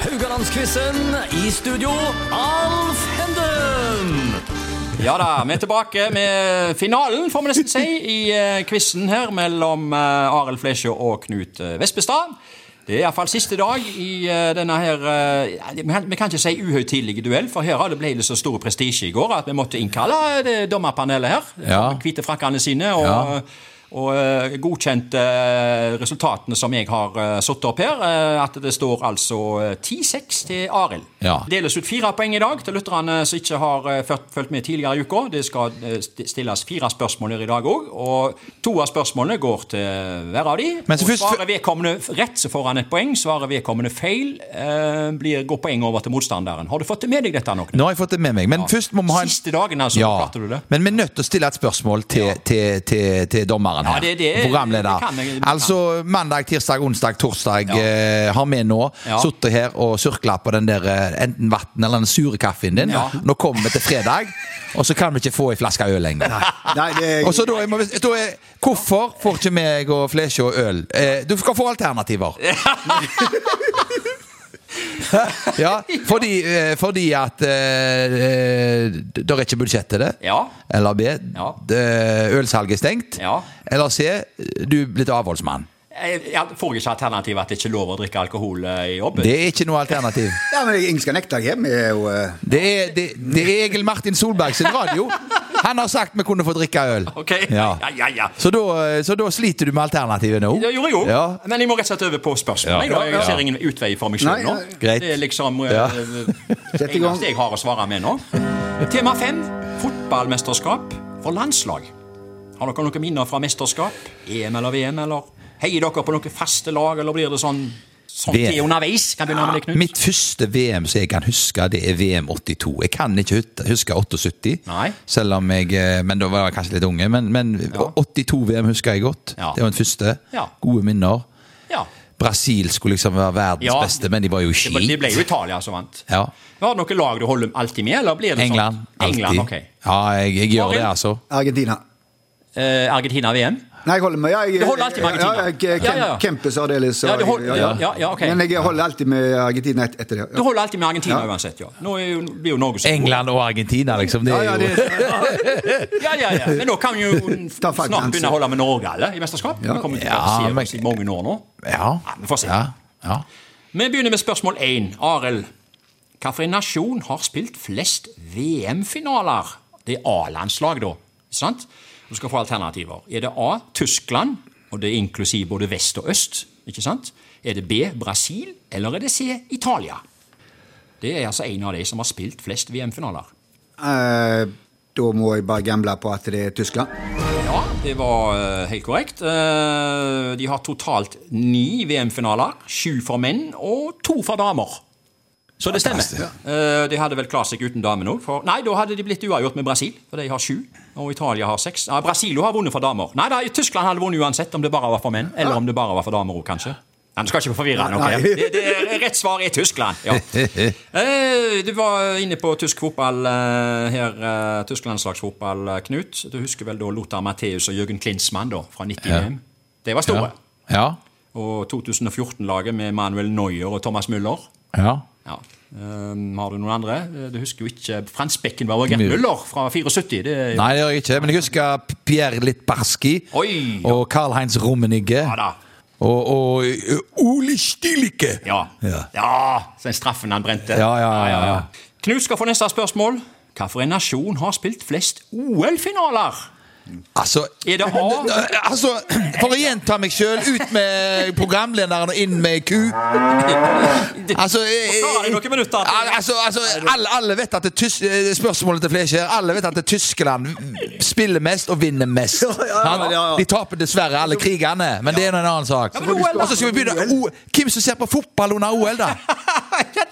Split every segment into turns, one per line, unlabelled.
Haugalandsquizen. I studio, Alf Henden.
Ja da, vi er tilbake med finalen, får vi nesten si, i eh, quizen her mellom eh, Arild Flesje og Knut eh, Vespestad. Det er iallfall siste dag i eh, denne her eh, ja, Vi kan- vi kan ikke si uhøytidelige duell, for her har det ble det så stor prestisje i går at vi måtte innkalle eh, det dommerpanelet her.
Ja.
Med hvite frakkene sine og,
Ja.
og eh, godkjente eh, resultatene som jeg har eh, satt opp her. eh, At det står altså eh, 10-6 til Arild.
Ja.
Det deles ut fire poeng i dag til lytterne som ikke har eh, ført- fulgt med tidligere i uka. Det skal eh, st- stilles fire spørsmål her i dag òg, og to av spørsmålene går til hver av de.
Men så
Og
først-
svarer vedkommende f- rett, så får han et poeng. Svarer vedkommende feil, eh, blir, går poeng over til motstanderen. Har du fått det med deg dette nok?
Nå har jeg fått det med meg, men først må vi ha en
Siste dagen, altså.
Ja,
Klarte du det?
men vi er nødt til å stille et spørsmål til, til, til, til dommeren her.
Ja, det- det-
programleder.
det kan jeg- det kan.
altså mandag, tirsdag, onsdag, torsdag eh, har vi nå
Ja.
sittet her og surkla på den der eh, enten vann eller den sure kaffen din.
Ja.
Nå kommer vi til fredag, og så kan vi ikke få ei flaske øl lenger.
Nei, det er
Og så da, jeg må, da er, Hvorfor får ikke meg og Flesje og øl? Eh, du skal få alternativer. ja, fordi, eh, fordi at eh, eh, Det er ikke budsjett til det.
Ja.
Eller B.
Ja.
det- Ølsalget er stengt.
Ja.
Eller C. Du er blitt avholdsmann.
Jeg, jeg får ikke alternativet at det ikke er lov å drikke alkohol eh, i jobben.
Det er ikke noe alternativ.
Ja, men jeg skal nekte deg hjem. Jeg er jo eh,
Det er, det, det er Egil Martin Solberg sin radio. Han har sagt vi kunne få drikke øl.
Ok,
Ja.
ja, ja, ja.
Så, da, så da sliter du med alternativet nå?
Det gjorde jeg òg,
Ja.
men jeg må rett og slett over på spørsmålet.
Ja.
Jeg, da. jeg ser ingen utvei for meg
Nei,
sjøl nå.
nei.
Greit.
Det er liksom eh,
Ja.
det
Sett i gang.
eneste jeg har å svare med nå. Tema fem fotballmesterskap for landslag. Har dere noen minner fra mesterskap? EM eller VM, eller? Heier dere på noen faste lag, eller blir det sånn sånn
VM.
til underveis? Kan jeg begynne med det, Knut?
Mitt første VM som jeg kan huske, det er VM 82. Jeg kan ikke hut- huske 78,
Nei.
selv om jeg eh, Men da var jeg kanskje litt unge. Men, men 82 VM husker jeg godt.
Ja.
Det var den første.
Ja.
Gode minner.
Ja.
Brasil skulle liksom være verdens
Ja,
beste, men de var jo
Det ble- det
skit.
ble jo Italia som vant.
Ja.
Har du noen lag du holder alltid med, eller blir det
England.
sånn?
Alltid.
England, ok.
Ja, jeg, jeg gjør
Arild?
det, altså.
Argentina.
Eh, Argentina-VM?
Nei, jeg holder med ja, jeg,
Du holder alltid med Argentina.
Ja, jeg, eh,
Ja, ja, ja.
Kemp- Kempes Ardeles.
Ja,
og-
du holder- ja, ja, ok.
Men jeg holder alltid med Argentina et, etter det.
Du holder alltid med Argentina
Ja.
uansett, ja. Nå er jo, blir jo Norge så gode.
England og Argentina, liksom. Det
Ja, ja,
er
det,
jo
Ja, ja, ja. Men nå kan vi jo
Ta
snart
Falklands.
begynne å holde med Norge eller, i mesterskap. Vi kommer til å
Ja,
se
men-
oss i mange år nå.
Ja.
vi får se.
Ja. ja.
Vi begynner med spørsmål én. Arild, hvilken nasjon har spilt flest VM-finaler? Det er A-landslag, da. Ikke sant? Du skal få alternativer. Er det A Tyskland, og det er inklusiv både vest og øst? ikke sant? Er det B Brasil, eller er det C Italia? Det er altså en av de som har spilt flest VM-finaler.
Eh, da må jeg bare gamble på at det er Tyskland.
Ja, det var eh, helt korrekt. Eh, De har totalt ni VM-finaler. Sju for menn og to for damer. Så det stemmer. Eh, De hadde vel klart seg uten damene òg. for- Nei, da hadde de blitt uavgjort med Brasil, for de har sju. Og Italia har seks. Ja, Brasil har vunnet for damer. Nei da, Tyskland hadde vunnet uansett om det bare var for menn. Eller om det bare var for damer òg, kanskje. Nei, Du skal ikke forvirre noe. her. Det, det, rett svar er Tyskland. ja. Eh, Du var inne på tysk fotball eh, her. eh, Tysk landslagsfotball, eh, Knut. Du husker vel da Lothar Matthäus og Jørgen Klinsmann da, fra 90 VM? Det var store.
ja.
Og 2014-laget med Manuel Neuer og Thomas Müller.
ja.
Ja. Ehm, har du noen andre? Eh, Du husker jo ikke Frans Beckenbauer og Gert Müller fra 74. Det er
Nei, det gjør jeg ikke. Men jeg husker P- Pierre Littbarski
Oi, ja.
og Karl-Heinz Rummenigge.
Ja da.
Og, og ø, Ole Stilicke!
Ja.
Ja.
ja. Den straffen han brente.
Ja, ja, ja, ja.
Knut skal få neste spørsmål. Hvilken nasjon har spilt flest OL-finaler?
Altså,
Er det A?
altså For å gjenta meg sjøl, ut med programlederen og inn med ku. Altså, eh,
Forklarer i noen minutter at-
Al- altså, altså alle, alle vet at det tys eh, Spørsmålet til Flesje her Alle vet at det Tyskland spiller mest og vinner mest.
ja, ja.
De taper dessverre alle krigene, men det er nå en annen sak.
men OL, da.
Og så skal vi begynne O- Hvem som ser på fotball under OL, da? Hvem,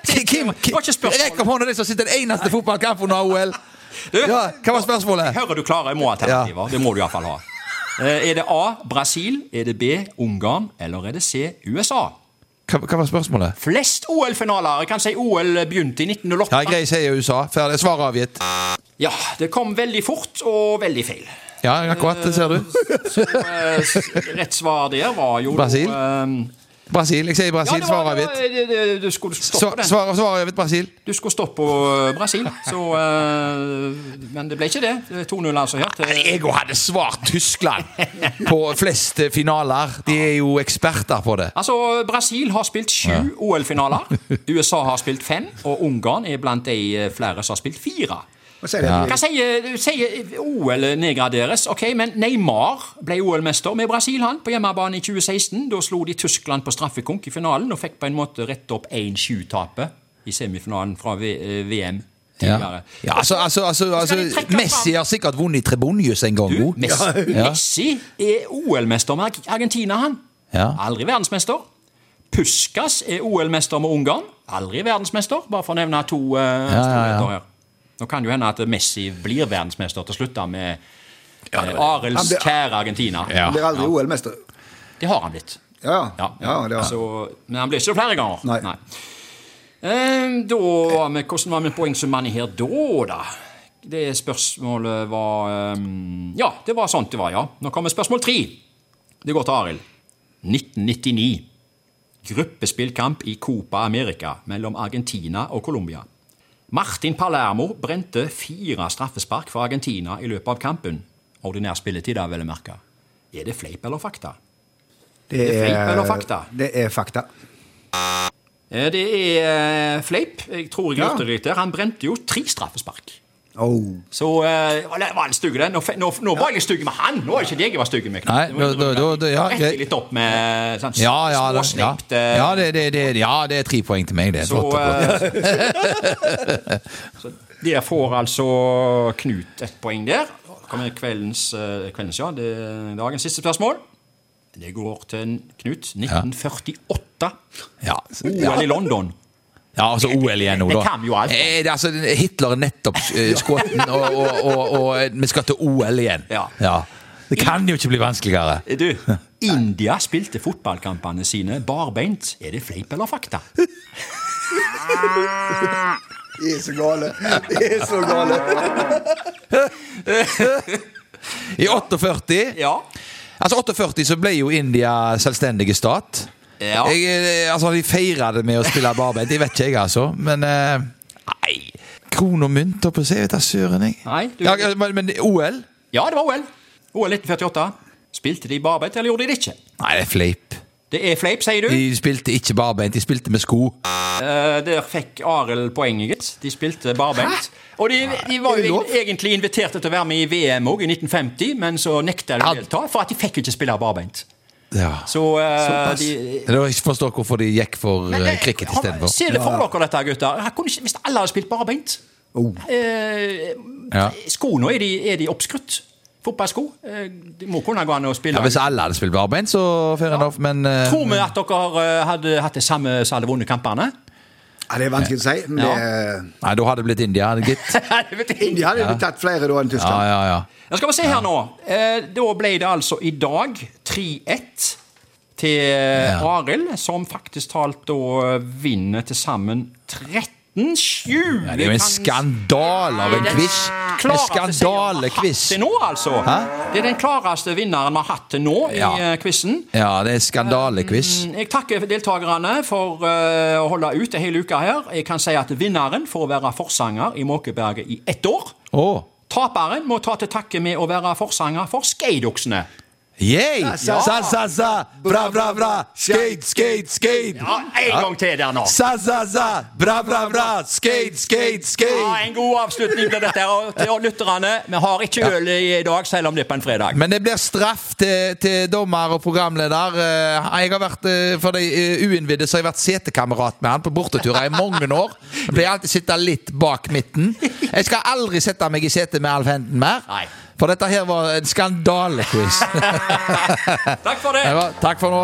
hvem,
Det var ikke spørsmål.
Rekk opp hånda de som sitter den eneste fotballkamp under OL.
Du,
Ja, hva var spørsmålet?
Hører du klarer, jeg må ha alternativer. Det må du iallfall ha. Eh, Er det A Brasil, er det B Ungarn, eller er det C USA?
Hva, hva var spørsmålet?
Flest OL-finaler. Jeg kan si OL begynte i 1908.
Ja, Grei sier USA. Ferdig. Svar avgitt.
Ja, det kom veldig fort og veldig feil.
Ja, akkurat. Det ser du.
Så eh, s- rett svar der var jo
Brasil?
eh,
Brasil. Jeg sier Brasil.
det var-
Svaret er
det-
hvitt.
det- Du skulle stoppe
Svar-
det.
Svaret svaret er hvitt Brasil.
Du skulle stoppe på eh, Brasil, så eh, Men det ble ikke det. Det er 2-0 altså her. til-
Jeg òg hadde svart Tyskland på flest eh, finaler. De er jo eksperter på det.
Altså, Brasil har spilt sju OL-finaler. USA har spilt fem, og Ungarn er blant de eh, flere som har spilt fire.
Og så er det
Hva sier, sier OL nedgraderes? Ok, men Neymar ble OL-mester med Brasil han på hjemmebane i 2016. Da slo de Tyskland på straffekonk i finalen og fikk på en måte rett opp 1-7-tapet i semifinalen fra V- eh, VM tidligere.
Ja, altså, altså, altså,
de
altså
trekke
Messi
fram-
har sikkert vunnet i Trebonius en gang.
Du,
jo.
Messi,
Ja.
Messi er OL-mester med Argentina, han.
Ja.
Aldri verdensmester. Puskas er OL-mester med Ungarn. Aldri verdensmester, bare for å nevne to uh, storheter her. Nå kan det jo hende at Messi blir verdensmester til slutt da med eh,
Han
Arilds
blir-
kjære Argentina.
Han blir aldri OL-mester.
Det har han blitt.
Ja, ja.
Ja. Altså,
ja det var.
Så, men han blir ikke det flere ganger.
Nei.
Eh, da, var vi- hvordan var vi poengsummene her da, da? Det spørsmålet var eh, Ja, det var sånt det var, ja. Nå kommer spørsmål tre. Det går til Arild. 1999. Gruppespillkamp i Copa America mellom Argentina og Colombia. Martin Palermo brente fire straffespark for Argentina i løpet av kampen. Ordinær spilletid, da, vel å merke. Er det fleip eller fakta?
Det
fleip eller fakta?
Det er fakta.
Eh, Det er eh, fleip. Jeg tror jeg
Ja.
hørte det litt der. Han brente jo tre straffespark.
Oh.
Så eh, å, det var han stygg, den. Nå, fe- nå, nå var jeg litt stygg med han! Nå var det ikke deg jeg var stygg med.
Nei,
Det var-
da- da- da- da- ja,
Rett
greit.
litt opp med sånn,
Ja, ja, det, ja.
småslipt eh,
ja, det, det, det, ja, det er tre poeng til meg, det.
Så,
Flott, flott.
eh, så der får altså Knut et poeng der. Kommer kveldens, eh, kveldens ja, det er dagens siste spørsmål. Det går til en Knut. 1948.
Ja, så- ja.
OL i London.
Ja, altså OL igjen nå, da.
Det kan jo alt.
Eh, det er altså, Hitler er nettopp eh, skutt, og, og, og, og eh, vi skal til OL igjen.
Ja.
Det kan jo ikke bli vanskeligere.
Du, India spilte fotballkampene sine barbeint. Er det fleip eller fakta?
De er så gale. De er så gale.
I 48
Ja.
Altså 48 så ble jo India selvstendige stat.
Ja.
Jeg, eh, altså De feira det med å spille barbeint, det vet ikke jeg, altså. Men eh, nei Kron og mynt, holdt på å si. Vet da søren, jeg.
Nei, du-
ja, men, men OL?
Ja, det var OL. OL 1948. Spilte de barbeint, eller gjorde de det ikke?
Nei, det er fleip.
Det er fleip, sier du.
De spilte ikke barbeint, de spilte med sko.
Eh, der fikk Arild poenget, gitt. De spilte barbeint. Og de, de var
Er det
jo
lov?
egentlig invitert til å være med i VM òg, i 1950, men så nekta de å
Ja.
delta, for at de fikk jo ikke spille barbeint.
Ja.
Så eh, de
Det var ikke forstår hvorfor de gikk for eh, cricket
Har-
istedenfor.
Ser dere for dere dette, gutter? Her kunne ikke, hvis alle hadde spilt barbeint
Oh.
eh,
Ja.
Sko nå, er de, er de oppskrutt? Fotballsko? Eh, det må kunne gå an å spille.
Ja, hvis alle hadde spilt barbeint, så fair enough, men eh,
Tror vi at dere eh, hadde hatt det samme som hadde vunnet kampene?
Ja, det er vanskelig å si. Men
Ja.
det,
Nei, da hadde det blitt India, gitt.
Det vet jeg ikke.
de hadde jo tatt flere da enn
Ja,
Tyskland.
ja, ja.
Ja, skal vi se her nå. Eh, da ble det altså i dag 3-1 til eh, Arild, som faktisk talt da vinner til sammen 13-7.
Ja, Det er jo en skandale av en quiz. En skandalequiz.
Til nå, altså.
Hæ?
Det er den klareste vinneren vi har hatt til nå i
Ja.
eh, quizen.
Ja, det er skandalequiz.
Jeg takker deltakerne for eh, å holde ut hele uka her. Jeg kan si at vinneren får være forsanger i Måkeberget i ett år.
Å!
Taperen må ta til takke med å være forsanger for skeidoksene.
Yeah!
sa-
Sa, sa, sa! Bra, bra, bra! Skate, skate, skate!
Ja, En gang til der nå.
Sa, sa, sa! Bra, bra, bra! Skate, skate,
Ja,
skate!
en god avslutning blir dette her og til lytterne. Vi har ikke øl i dag, selv om det er på en fredag.
Men det blir straff til, til dommer og programleder. Eh, Jeg har vært, eh, For de eh, uinnvidde så har jeg vært setekamerat med han på borteturer i mange år. Jeg pleier alltid å sitte litt bak midten. Jeg skal aldri sette meg i setet med Alf Henden mer.
Nei.
For dette her var en skandalequiz.
Takk for det.
Det var- Takk for nå.